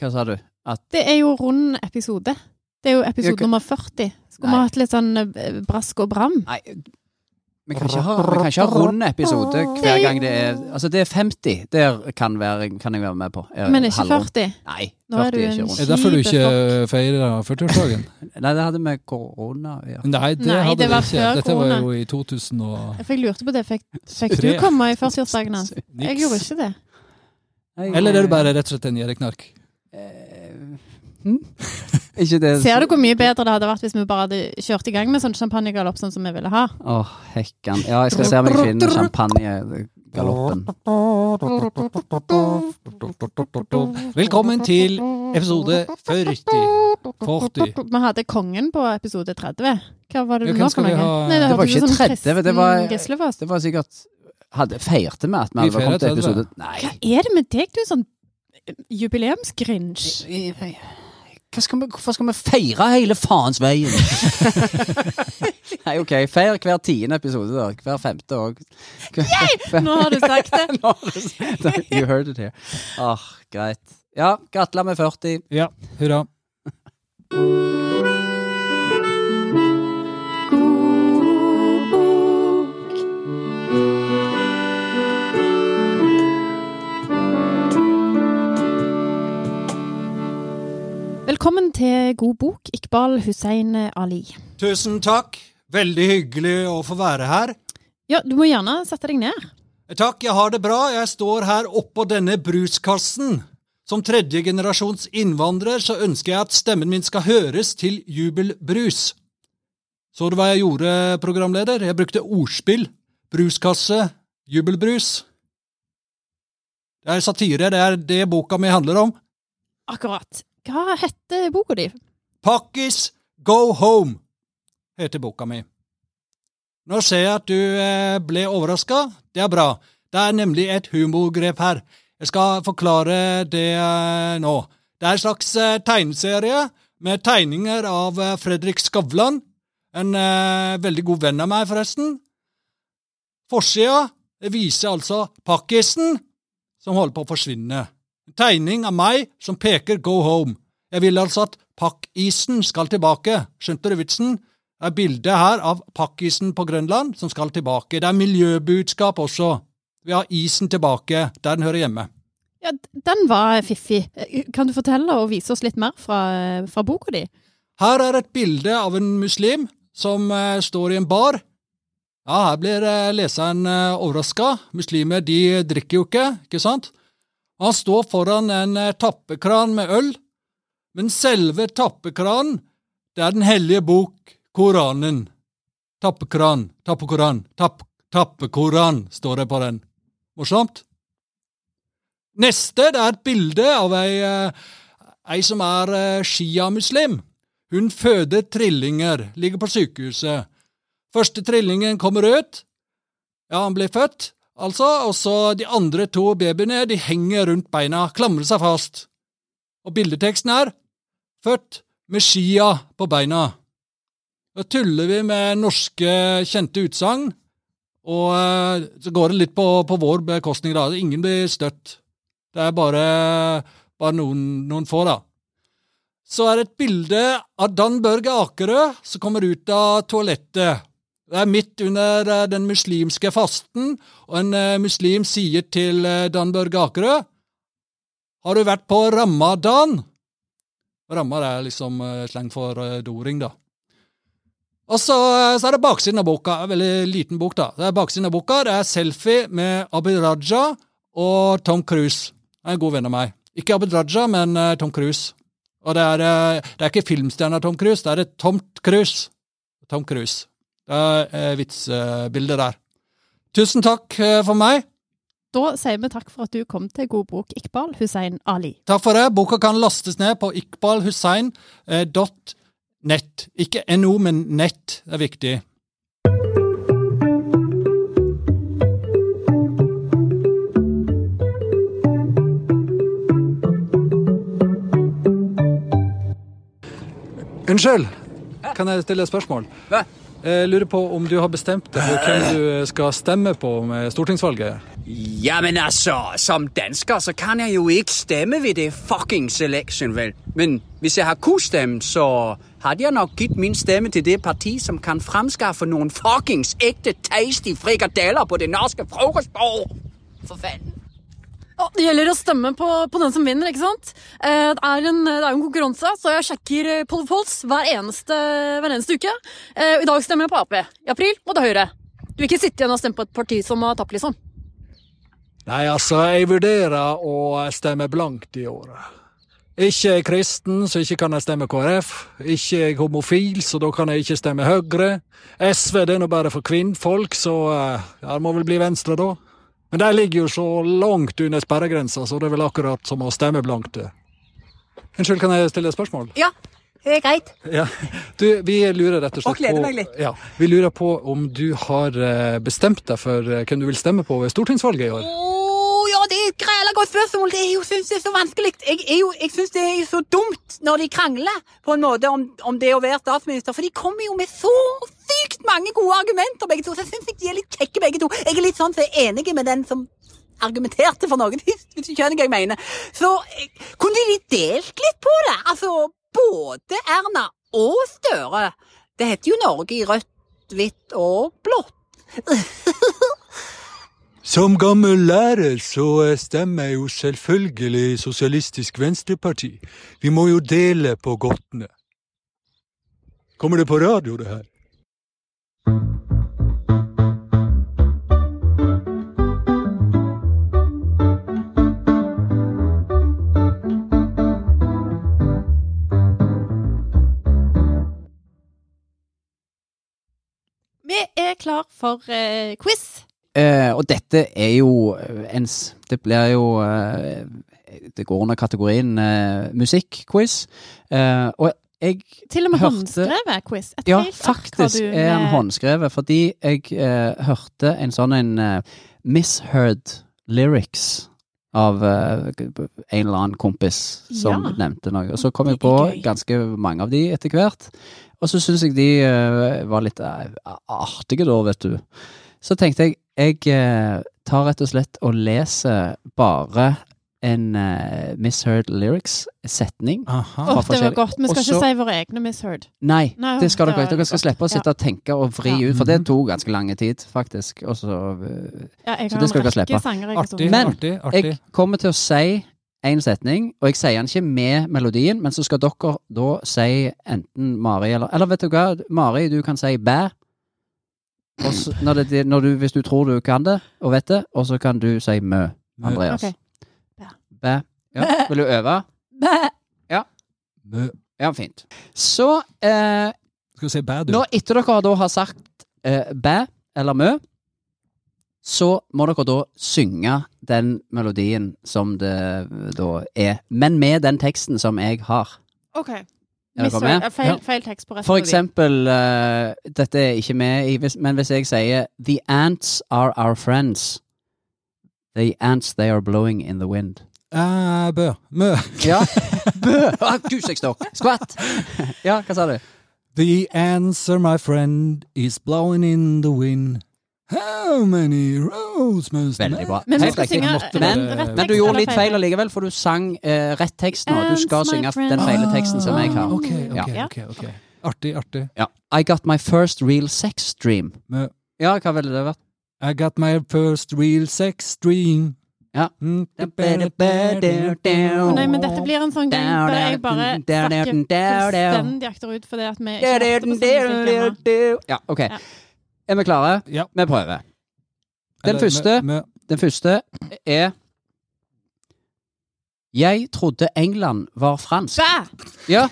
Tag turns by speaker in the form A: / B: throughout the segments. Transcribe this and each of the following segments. A: Hva sa du? At
B: Det er jo rund episode. Det er jo episode
A: Ok.
B: nummer 40. Skulle vi
A: Nei.
B: hatt litt sånn eh, brask og bram?
A: Nei, vi kan ikke ha, vi kan ikke ha rund episode hver gang det er Altså, det er 50. Der kan, være, kan jeg være med på. Er-
B: Men ikke
A: halvrund.
B: 40.
A: Nei,
B: Nå er
A: 40 er
B: du
A: ikke
B: en
A: rund.
B: kjip-
C: Er det derfor du
B: Kjipe
C: ikke feirer 40-årsdagen?
A: Nei, det hadde med korona å gjøre.
C: Nei, det
B: Nei,
C: hadde
B: det
C: vi
B: var
C: ikke.
B: før
C: Dette var
B: korona.
C: jo i 2000 og
B: For jeg lurte på det. Fikk, fikk du
C: Tre.
B: komme i 40-årsdagen hans? Jeg
C: niks.
B: gjorde ikke det.
A: Nei,
C: Eller er du bare rett og slett en gjerriknark?
A: eh, hm? Ikke det
B: Ser du hvor mye bedre det hadde vært hvis vi bare hadde kjørt i gang med sånn champagnegalopp sånn som vi ville ha?
A: Å, hekkan. Ja, jeg skal se om jeg finner champagnegaloppen.
C: Velkommen til episode 40. 40.
B: Vi hadde kongen på episode 30. Hva var det
C: Ja, hvem
B: du nå
C: skal
B: for
C: vi
B: noe?
C: ha?
B: Nei,
C: Det
A: var
B: hørtes
A: ikke
B: ut som
A: 30, det var-
B: Kristen Gislefoss.
A: Det var sikkert hadde, Feirte vi at
C: Vi
A: vi hadde kommet til
C: feiret 30.
A: episode Nei.
B: Hva er det med deg, du er sånn jubileumsgrinsj?
A: I- i- Hva skal vi, hvorfor skal vi feire hele faens veien? Nei, OK. Feir hver tiende episode, da. Hver femte òg.
B: Nå har du sagt det.
A: You heard it here. Åh, Greit. Ja, gratulerer med 40.
C: Ja, hurra.
B: Velkommen til God bok, Iqbal Hussein Ali.
D: Tusen takk. Veldig hyggelig å få være her.
B: Ja, du må gjerne sette deg ned.
D: Takk, jeg har det bra. Jeg står her oppå denne bruskassen. Som tredje generasjons innvandrer så ønsker jeg at stemmen min skal høres til jubelbrus. Så du hva jeg gjorde, programleder? Jeg brukte ordspill. Bruskasse, jubelbrus. Det er satire, det er det boka mi handler om.
B: Akkurat. Hva heter boka di?
D: Pakkis, go home, heter boka mi. Nå ser jeg at du eh, ble overraska. Det er bra. Det er nemlig et humorgrep her. Jeg skal forklare det eh, nå. Det er en slags eh, tegneserie med tegninger av eh, Fredrik Skavlan. En eh, veldig god venn av meg, forresten. Forsida viser altså pakkisen som holder på å forsvinne. En tegning av meg som peker go home. Jeg vil altså at pakkisen skal tilbake. Skjønte du vitsen? Det er bildet her av pakkisen på Grønland som skal tilbake. Det er miljøbudskap også. Vi har isen tilbake, der den hører hjemme.
B: Ja, d- den var fiffig. Eh, Kan du fortelle og vise oss litt mer fra, eh, fra boka di?
D: Her er et bilde av en muslim som eh, står i en bar. Ja, her blir eh, leseren eh, overraska. Muslimer de drikker jo ikke, ikke sant? Han står foran en eh, tappekran med øl, men selve tappekranen, det er Den hellige bok, Koranen. Tappekran, tappekoran, tapp, tappekoran, står det på den. Morsomt? Neste, det er et bilde av ei, eh, ei som er eh, sjiamuslim. Hun føder trillinger, ligger på sykehuset. Første trillingen kommer ut. Ja, han blir født, altså, og så de andre to babyene, de henger rundt beina, klamrer seg fast. Og bildeteksten er Født med skia på beina. Da tuller vi med norske kjente utsagn, og eh, så går det litt på, på vår bekostning, da. Ingen blir støtt. Det er bare, bare noen, noen få, da så er det et bilde av Dan Børge Akerø som kommer ut av toalettet. Det er midt under eh, den muslimske fasten, og en eh, muslim sier til eh, Dan Børge Akerø Har du vært på ramadan? Ramma er liksom eh, slang for eh, doring, da. Og så, eh, så er det baksiden av boka. En veldig liten bok, da. Det er baksiden av boka, det er selfie med Abid Raja og Tom Cruise. Han er en god venn av meg. Ikke Abid Raja, men eh, Tom Cruise. Og det er, eh, det er ikke filmstjerna Tom Cruise, det er et tomt cruise. Tom Cruise. Det er eh, vitsebildet der. Tusen takk eh, for meg.
B: Da sier vi takk for at du kom til God bok, Iqbal Hussein Ali.
D: Takk for det. Boka kan lastes ned på iqbalhussein.net. Ikke no, men nett. Det er viktig. Unnskyld, kan jeg stille et spørsmål? Eh,
A: Hva?
D: Jeg lurer på om du har bestemt deg for hvem du skal stemme på med stortingsvalget?
A: Ja, men altså, som dansker, så kan jeg jo ikke stemme ved det fucking selection, vel. Men hvis jeg har kunnet stemme, så hadde jeg nok gitt min stemme til det parti som kan fremskaffe noen fuckings ekte tasty frikadeller på det norske frokostbord. For faen.
E: Å, det gjelder å stemme på, på den som vinner, ikke sant? Eh, det, er en, det er jo en konkurranse, så jeg sjekker eh, poll polls hver eneste, hver eneste uke. Eh, og I dag stemmer jeg på Ap. I april må det Høyre. Du vil ikke sitte igjen og stemme på et parti som har tapt, liksom.
D: Nei, altså, jeg vurderer å stemme blankt i år. Ikke er jeg kristen, så ikke kan jeg stemme KrF. Ikke er jeg homofil, så da kan jeg ikke stemme Høyre. SV det er nå bare for kvinnfolk, så eh, ja, det må vel bli Venstre da. Men de ligger jo så langt under sperregrensa, så det er vel akkurat som å stemme blankt. det. Unnskyld, kan jeg stille et spørsmål?
E: Ja, det er greit.
D: Ja. Du, vi lurer rett og slett
A: Og gleder
D: på-
A: meg litt.
D: Ja, vi lurer på om du har eh, bestemt deg for eh, hvem du vil stemme på ved stortingsvalget i år?
F: Åh, ja, det er et grela godt spørsmål. Det er jo, synes det er så vanskelig. Jeg, er jo, jeg synes det er så dumt når de krangler på en måte om, om det å være statsminister. For de kommer jo med så sykt mange gode argumenter, begge to. Så jeg synes ikke de er litt kjekke, begge to. Jeg er litt sånn så jeg er enig med den som argumenterte for noe, hvis hvis du skjønner hva jeg mener. Så eh, kunne de delt litt på det? Altså, både Erna og Støre. Det heter jo Norge i rødt, hvitt og blått.
D: Som gammel lærer så stemmer jeg jo selvfølgelig Sosialistisk Venstreparti. Vi må jo dele på godtene. Kommer det på radio, det her?
B: Vi er klar for eh, quiz.
A: Eh, og dette er jo eh, ens Det blir jo eh, Det går under kategorien eh, musikkquiz. Eh, og jeg
B: Til og med
A: Hørte-
B: håndskrevet quiz. Et
A: Ja,
B: helt ark har
A: faktisk
B: du eh,
A: er han
B: med-
A: håndskrevet, fordi jeg eh, hørte en sånn en eh, misheard lyrics av eh, en eller annen kompis som
B: Ja.
A: nevnte noe. Og så kom jeg
B: Det er
A: på
B: gøy.
A: ganske mange av de etter hvert. Og så syns jeg de eh, var litt eh, artige da, vet du. Så tenkte jeg jeg eh, tar rett og slett og leser bare en eh, misheard lyrics-setning.
C: Aha.
B: Åh, det var
A: forskjellig.
B: godt. Vi skal
A: Også-
B: ikke si våre egne misheard.
A: Nei,
B: Nei,
A: det skal dere
B: det
A: ikke. Dere skal
B: var
A: slippe å
B: godt.
A: sitte og tenke og vri
B: Ja.
A: ut, for det tok ganske lang tid, faktisk. Og så, eh,
B: Ja, jeg
A: Så
B: har
A: det skal dere
B: en rekke
A: slippe.
B: sanger jeg har
C: Artig,
B: sunget.
A: Men-
C: artig, artig.
A: jeg kommer til å si én setning, og jeg sier den ikke med melodien, men så skal dere da si enten Mari eller Eller vet du hva, Mari, du kan si bæ. Og så, når det, det- når du, hvis du tror du kan det, og vet det, og så kan du si mø, Andreas.
B: Ok.
A: Bæ. Ja. Vil du øve?
B: Bæ.
C: Bø.
A: Ja, fint. Så eh,
C: Skal vi se bad, du.
A: Nå etter dere da har sagt eh, bæ eller mø, så må dere da synge den melodien som det eh, da er, men med den teksten som jeg har.
B: Ok.
A: Er dere
B: Misheard.
A: med?
B: Feil,
A: Ja.
B: feil tekst på resten.
A: For
B: av de.
A: eksempel, eh, dette er ikke med i, hvis- men hvis jeg sier The ants are our friends. The ants they are blowing in the wind.
C: Eh, bø. Mø.
A: Ja. Bø! Ah, Gudsekstokk! Skvatt! Ja, hva sa du?
C: The answer, my friend, is blowing in the wind. How many roads must
A: Veldig bra.
B: Men vi
A: Helt
B: skal
A: riktig.
B: synge
C: Måtte
B: eh,
A: Men-
B: rett tekst
A: Men du gjorde
B: eller
A: litt feil allikevel, for du sang eh, rett tekst nå. Du skal
B: Dance, my Ah.
A: synge
B: friend.
A: den feile teksten som jeg har.
C: Ok, ok,
B: Ja.
C: ok. ok. Artig, artig.
A: Ja. I got my first real sex dream.
C: Mø.
A: Ja, hva ville det vært?
C: I got my first real sex dream.
A: Ja.
C: Mm.
B: Å, Nei, men dette blir en sånn gang der jeg bare snakker fullstendig akterut fordi at vi ikke har hørt på samme musikk ennå.
A: Ja, OK.
B: Ja.
A: Er vi klare?
C: Ja.
A: Vi prøver. Den
C: Eller,
A: første.
C: mø, mø.
A: Den første er Jeg trodde England var fransk.
B: Bæ!
A: Ja.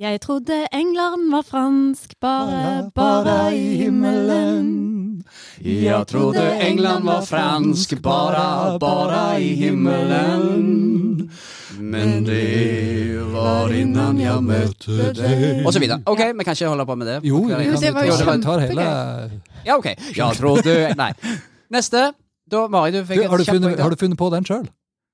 B: Jeg trodde England var fransk, bare, bare i himmelen.
A: Jeg trodde England var fransk, bara, bara i himmelen. Men det var innan jeg møtte deg Og så videre. Ok, vi kan ikke holde på med det.
C: Jo, vi
B: Jo,
C: kan,
B: det var jo
C: vi tar- vi tar hele
A: Ja, ok. Jeg trodde Nei. Neste. Da, Mari, du
C: du,
A: fikk
C: har, du
A: et kjapt
C: funnet,
A: poeng.
C: har du funnet på den sjøl?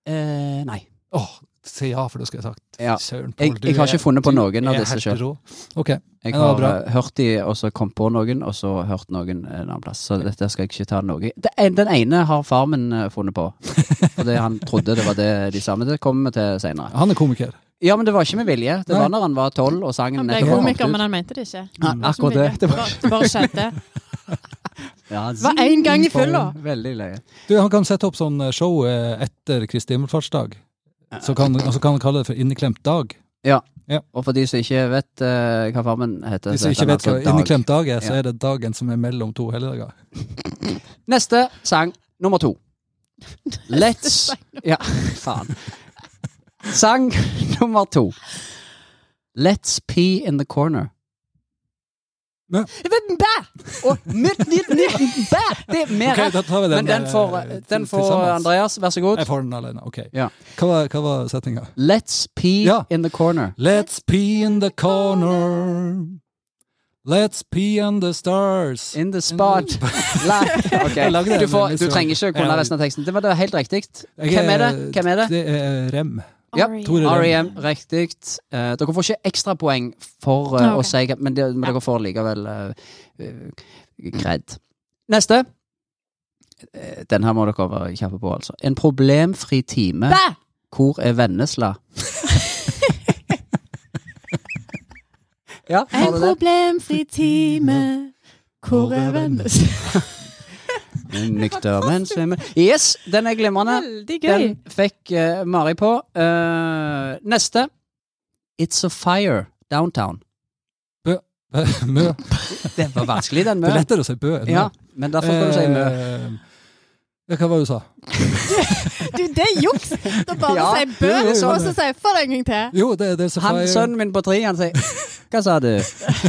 A: Eh, nei.
C: Åh,
D: si ja, for det skulle jeg sagt.
A: Ja.
D: Søren,
A: Jeg- jeg har
D: er-
A: ikke funnet på
D: du
A: noen av
D: er
A: disse
D: helt
A: selv.
D: rå. Ok,
A: Jeg
D: Ja, det var
A: har
D: bra.
A: eh, hørt de, og så kom på noen, og så hørt noen en annen plass. Så dette skal jeg ikke ta noe i. Det en- Den ene har far min eh, funnet på. Fordi han trodde det var det de samme. Det kommer vi til seinere.
D: han er komiker.
A: Ja, men det var ikke med vilje. Det
D: Nei.
A: var når han var tolv og sangen
B: Han ble
A: nettopp kommet
B: komiker,
A: ut. Mm.
B: men han mente det ikke.
A: Ja, akkurat det. Det var,
B: bare, bare skjedde.
A: ja,
B: Det var én gang i fylla.
A: Veldig løye.
D: Du, han kan sette opp sånn eh, show eh, etter Kristi himmelfartsdag. Så kan, og så kan han kalle det for Inneklemt dag.
A: Og for de som ikke vet eh, hva far min heter
D: Hvis
A: så
D: du
A: heter
D: ikke
A: han
D: vet hva
A: altså Dag.
D: Inneklemt dag er, så
A: Ja.
D: er det dagen som er mellom to helligdager.
A: Neste sang nummer to. Let's Ja, faen. Sang nummer to. Let's pee in the corner.
E: Bæ!
A: Og nytt, nytt, nytt, bæ! Det er mer
D: Ok, da tar vi den,
A: Men den
D: eh,
A: får,
D: til-
A: den får
D: tilsammens.
A: Andreas, vær så god.
D: Jeg får den alene, ok.
A: Ja.
D: Hva var, hva var settinga?
A: Let's pee
D: Ja.
A: in the corner.
D: Let's pee in the corner. Let's pee on the stars.
A: In the spot. Nei,
D: Jeg lagde
A: ok.
D: den,
A: Du, får,
D: men
A: du trenger ikke kunne
D: Ja.
A: resten av teksten. Det var det var helt riktig.
D: Jeg
A: Hvem er det? Hvem er det?
D: Det er Rem.
A: Ja,
D: Tore Rem.
A: R.E.M. E Riktig. Eh, dere får ikke ekstrapoeng for eh,
B: Ah, ok.
A: å si Men, det, men dere får likevel eh, kred. Neste. Eh, Den her må dere være kjappe på, altså. En problemfri time.
E: Bæ!
A: Hvor er Vennesla? ja, har
B: En
A: du det?
B: problemfri time. Hvor er vennes?
A: Nykter, men svimmel Yes, den er glimrende.
B: Veldig gøy.
A: Den fikk eh, Mari på. Eh, neste. It's a fire downtown.
D: Mø.
A: Det var vanskelig, den
D: Det er
A: mø.
D: lettere å si Bø enn Mø.
A: Ja, men derfor kan du si mø.
D: Eh, Hva var det du sa?
B: Du, det er juks! Da bare
A: Ja,
B: sier bø,
A: det er sånn.
B: og så sier jeg få det en gang til.
D: Jo, det, det er så
A: Han,
D: feil.
A: sønnen min på tre, han sier Hva sa du?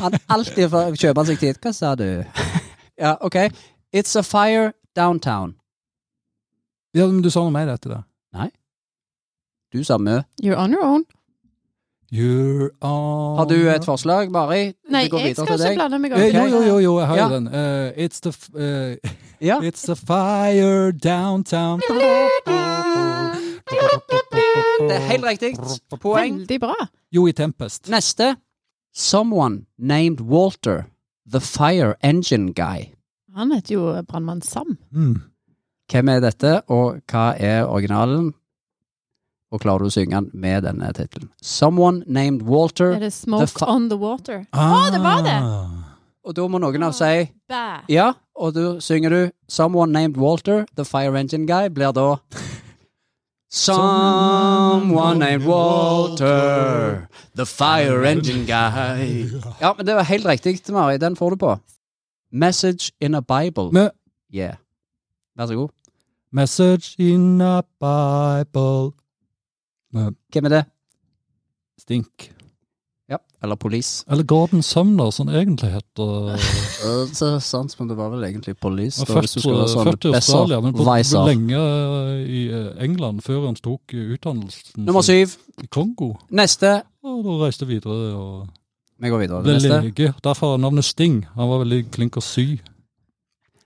A: Han alltid får- kjøper han seg tid. Hva sa du? Ja, OK. It's a fire downtown.
D: Ja, men du sa noe mer etter det.
A: Du sa mø.
B: You're on your own.
D: You're on
A: Har du et forslag, Mari?
B: Nei,
A: Vi går
B: jeg
A: videre
B: skal
A: til
B: ikke
A: deg.
B: blande meg
D: Eh,
B: opp.
D: Jo, jo, jo, jo, jeg har jo
A: Ja.
D: den. Eh, it's, the f eh,
A: Ja.
D: it's the fire downtown.
A: Det er helt riktig. Poeng.
B: Veldig bra.
D: Jo, i Tempest.
A: Neste. Someone named Walter, the fire engine guy.
B: Han heter jo Brannmann Sam.
D: Mm.
A: Hvem er dette, og hva er originalen? Og klarer du å synge den med denne tittelen? Someone named Walter.
B: Er det Smoke
A: The fa-
B: on the Water? Å, det var det!
D: Ah.
A: Og da må noen av si
B: Bæ.
A: ja, og da synger du Someone named Walter, the fire engine guy, blir da Someone named Walter, the fire engine guy. Ja, men det var helt riktig, Mari. Den får du på. Message in a Bible.
D: Mø.
A: Yeah. Vær så god.
D: Message in a Bible.
A: Hvem er det?
D: Stink.
A: Ja, eller Police.
D: Eller Gordon Sumner, som egentlig heter
A: Så sant, men Eh, det var vel egentlig Police.
D: Han var født,
A: sånn
D: født eh, i Australia, men bodde lenge i eh, England før han tok eh, utdannelsen
A: Nummer
D: sin
A: syv.
D: i Kongo.
A: Neste.
D: Og da reiste videre og
A: Vi går videre
D: ble
A: til neste.
D: lege. Derfor er navnet Sting. Han var veldig klink og sy.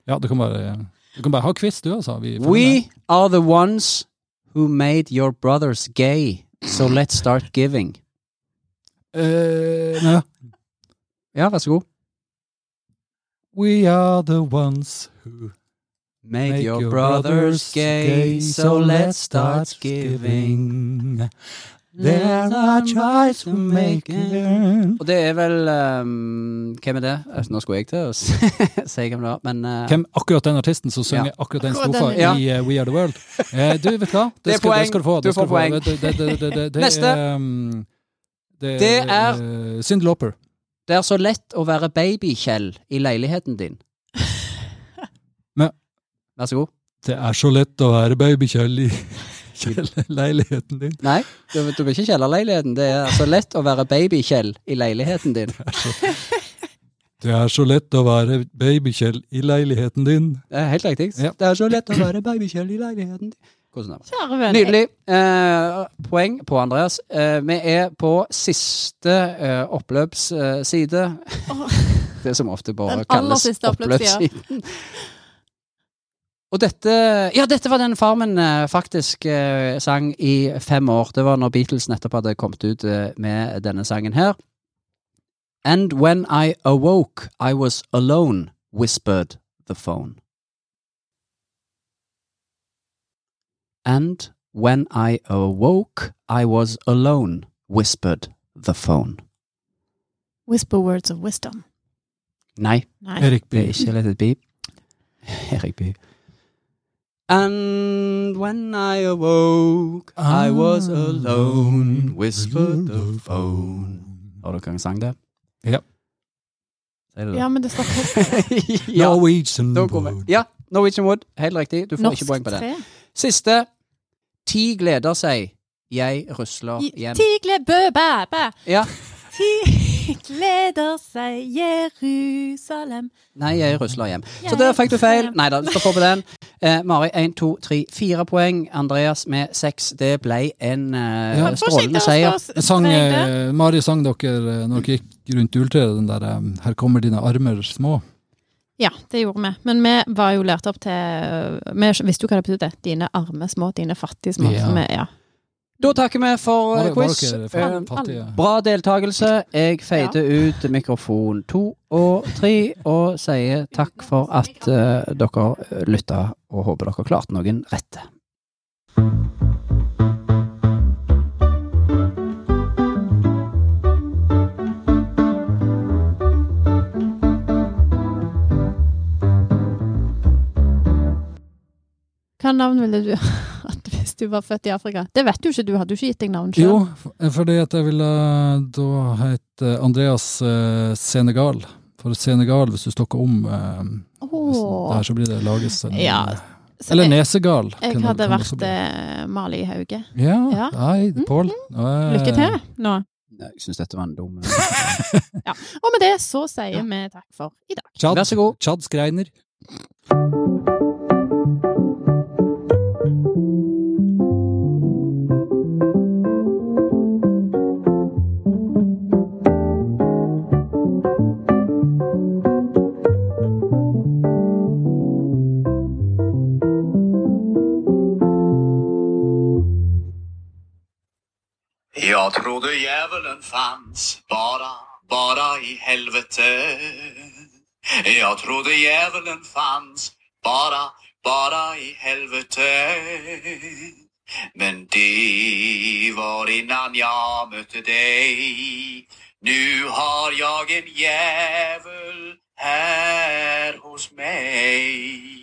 D: Ja, det kan være Du kan bare ha quiz, du, altså. Vi følger med.
A: We are the ones who made your brothers gay, so let's start giving.
D: Eh, nei.
A: Ja, vær så god.
D: We are the ones who
A: Made, your, brothers, gay, so let's start giving.
D: There are tries to make it.
A: Og det er vel ehm, Hvem er det? Altså, Nå skulle jeg til å si hvem det var, men eh,
D: Hvem akkurat den artisten som synger akkurat den
B: Akkurat den,
D: strofa
A: ja.
D: i eh, We Are The World? Eh, du, vet du hva?
A: Det er
D: skal,
A: poeng.
D: Det skal du få.
A: Du
D: Det skal
A: får poeng.
D: Få. Det, det, det, det, det, det,
A: Neste.
D: er, um, det,
A: Det er-
D: eh, Cyndi Lauper.
A: Det er så lett å være baby-Kjell i leiligheten din.
D: Men-
A: Vær så god.
D: Det er så lett å være babykjøll i leiligheten din.
A: Nei, du, du blir ikke kjellerleiligheten. Det er så lett å være baby-Kjell i leiligheten din.
D: Det er så lett å være babykjøll i leiligheten din.
A: Det er helt riktig.
D: Ja.
A: Det er så lett å være baby-Kjell i leiligheten din. Hvordan er det?
B: Kjære venn.
A: Nydelig. Eh, poeng på Andreas. Eh, vi er på siste eh, oppløpsside.
B: Åh.
A: Det som ofte bare
B: Den aller
A: kalles
B: siste oppløpssiden.
A: oppløpssiden. Og dette Ja, dette var den Farmen eh, faktisk eh, sang i fem år. Det var når Beatles nettopp hadde kommet ut eh, med denne sangen her. And when I awoke, I was alone, whispered the phone. And when I awoke, I was alone, whispered the phone.
B: Whisper words of wisdom.
A: Nei,
B: Nei.
D: Erik
A: det er
D: Bye.
A: ikke Let it be. Erik Bye. And when I awoke, I was
D: Ah.
A: alone, whispered the phone. Har dere en sang der?
D: Ja.
A: Sier du det?
B: Ja, men det står
A: ja.
D: Norwegian
A: Da går vi.
D: boat.
A: Ja, Norwegian Wood. Helt riktig. Du får
B: norsk
A: ikke poeng på det.
B: tre.
A: Siste. Ti gleder seg. Jeg rusler igjen.
B: Tigle bø bæ bæ.
A: Ja.
B: Ti gleder seg Jerusalem.
A: Nei, jeg rusler hjem. Så
B: Jeg
A: der fikk du
B: rusler
A: feil.
B: hjem.
A: Nei da, stå på på den. Eh, Mari 1, 2, 3, 4 poeng. Andreas med 6. Det ble en eh,
D: Ja.
A: strålende
B: altså,
A: seier.
D: Jeg sang, eh, Mari sang dere eh, når dere gikk rundt juletreet, den der eh, 'Her kommer dine armer små'.
B: Ja, det gjorde vi. Men vi var jo lært opp til øh, Vi visste jo hva det betydde. Dine arme små, dine fattige små.
D: Ja.
B: Så vi, ja.
A: Da takker vi for eh,
D: Var, var
A: quiz.
D: dere
A: Eh,
D: fa- fattige?
A: Bra deltakelse. Jeg feider ut mikrofon to og tre og sier takk for at eh, dere lytta, og håper dere klarte noen rette.
B: Hva navn ville du hatt hvis du var født i Afrika? Det vet du ikke, du hadde jo ikke gitt deg navn sjøl.
D: Jo, f- fordi at jeg ville da hete Andreas eh, Senegal. For Senegal, hvis du stokker om eh, hvis det her, så blir det lages en eh,
B: Ja,
D: Eller Nesegal.
B: Jeg
D: kunne-
B: hadde
D: kunne også
B: vært
D: bli.
B: eh, Mali Hauge.
D: Ja,
B: ja. Mm.
D: nei, Pål. eh,
B: Lykke til nå.
A: Jeg syns dette var en dum eh,
B: Og med det så sier vi takk for i dag.
D: Chad,
A: Vær så god.
D: Chad Skreiner.
G: Jag trodde djävulen fanns bara, bara i helvete. Jag trodde djävulen fanns bara, bara i helvete. Men det var innan jag mötte dig. Nu har jag en djävul här hos mig.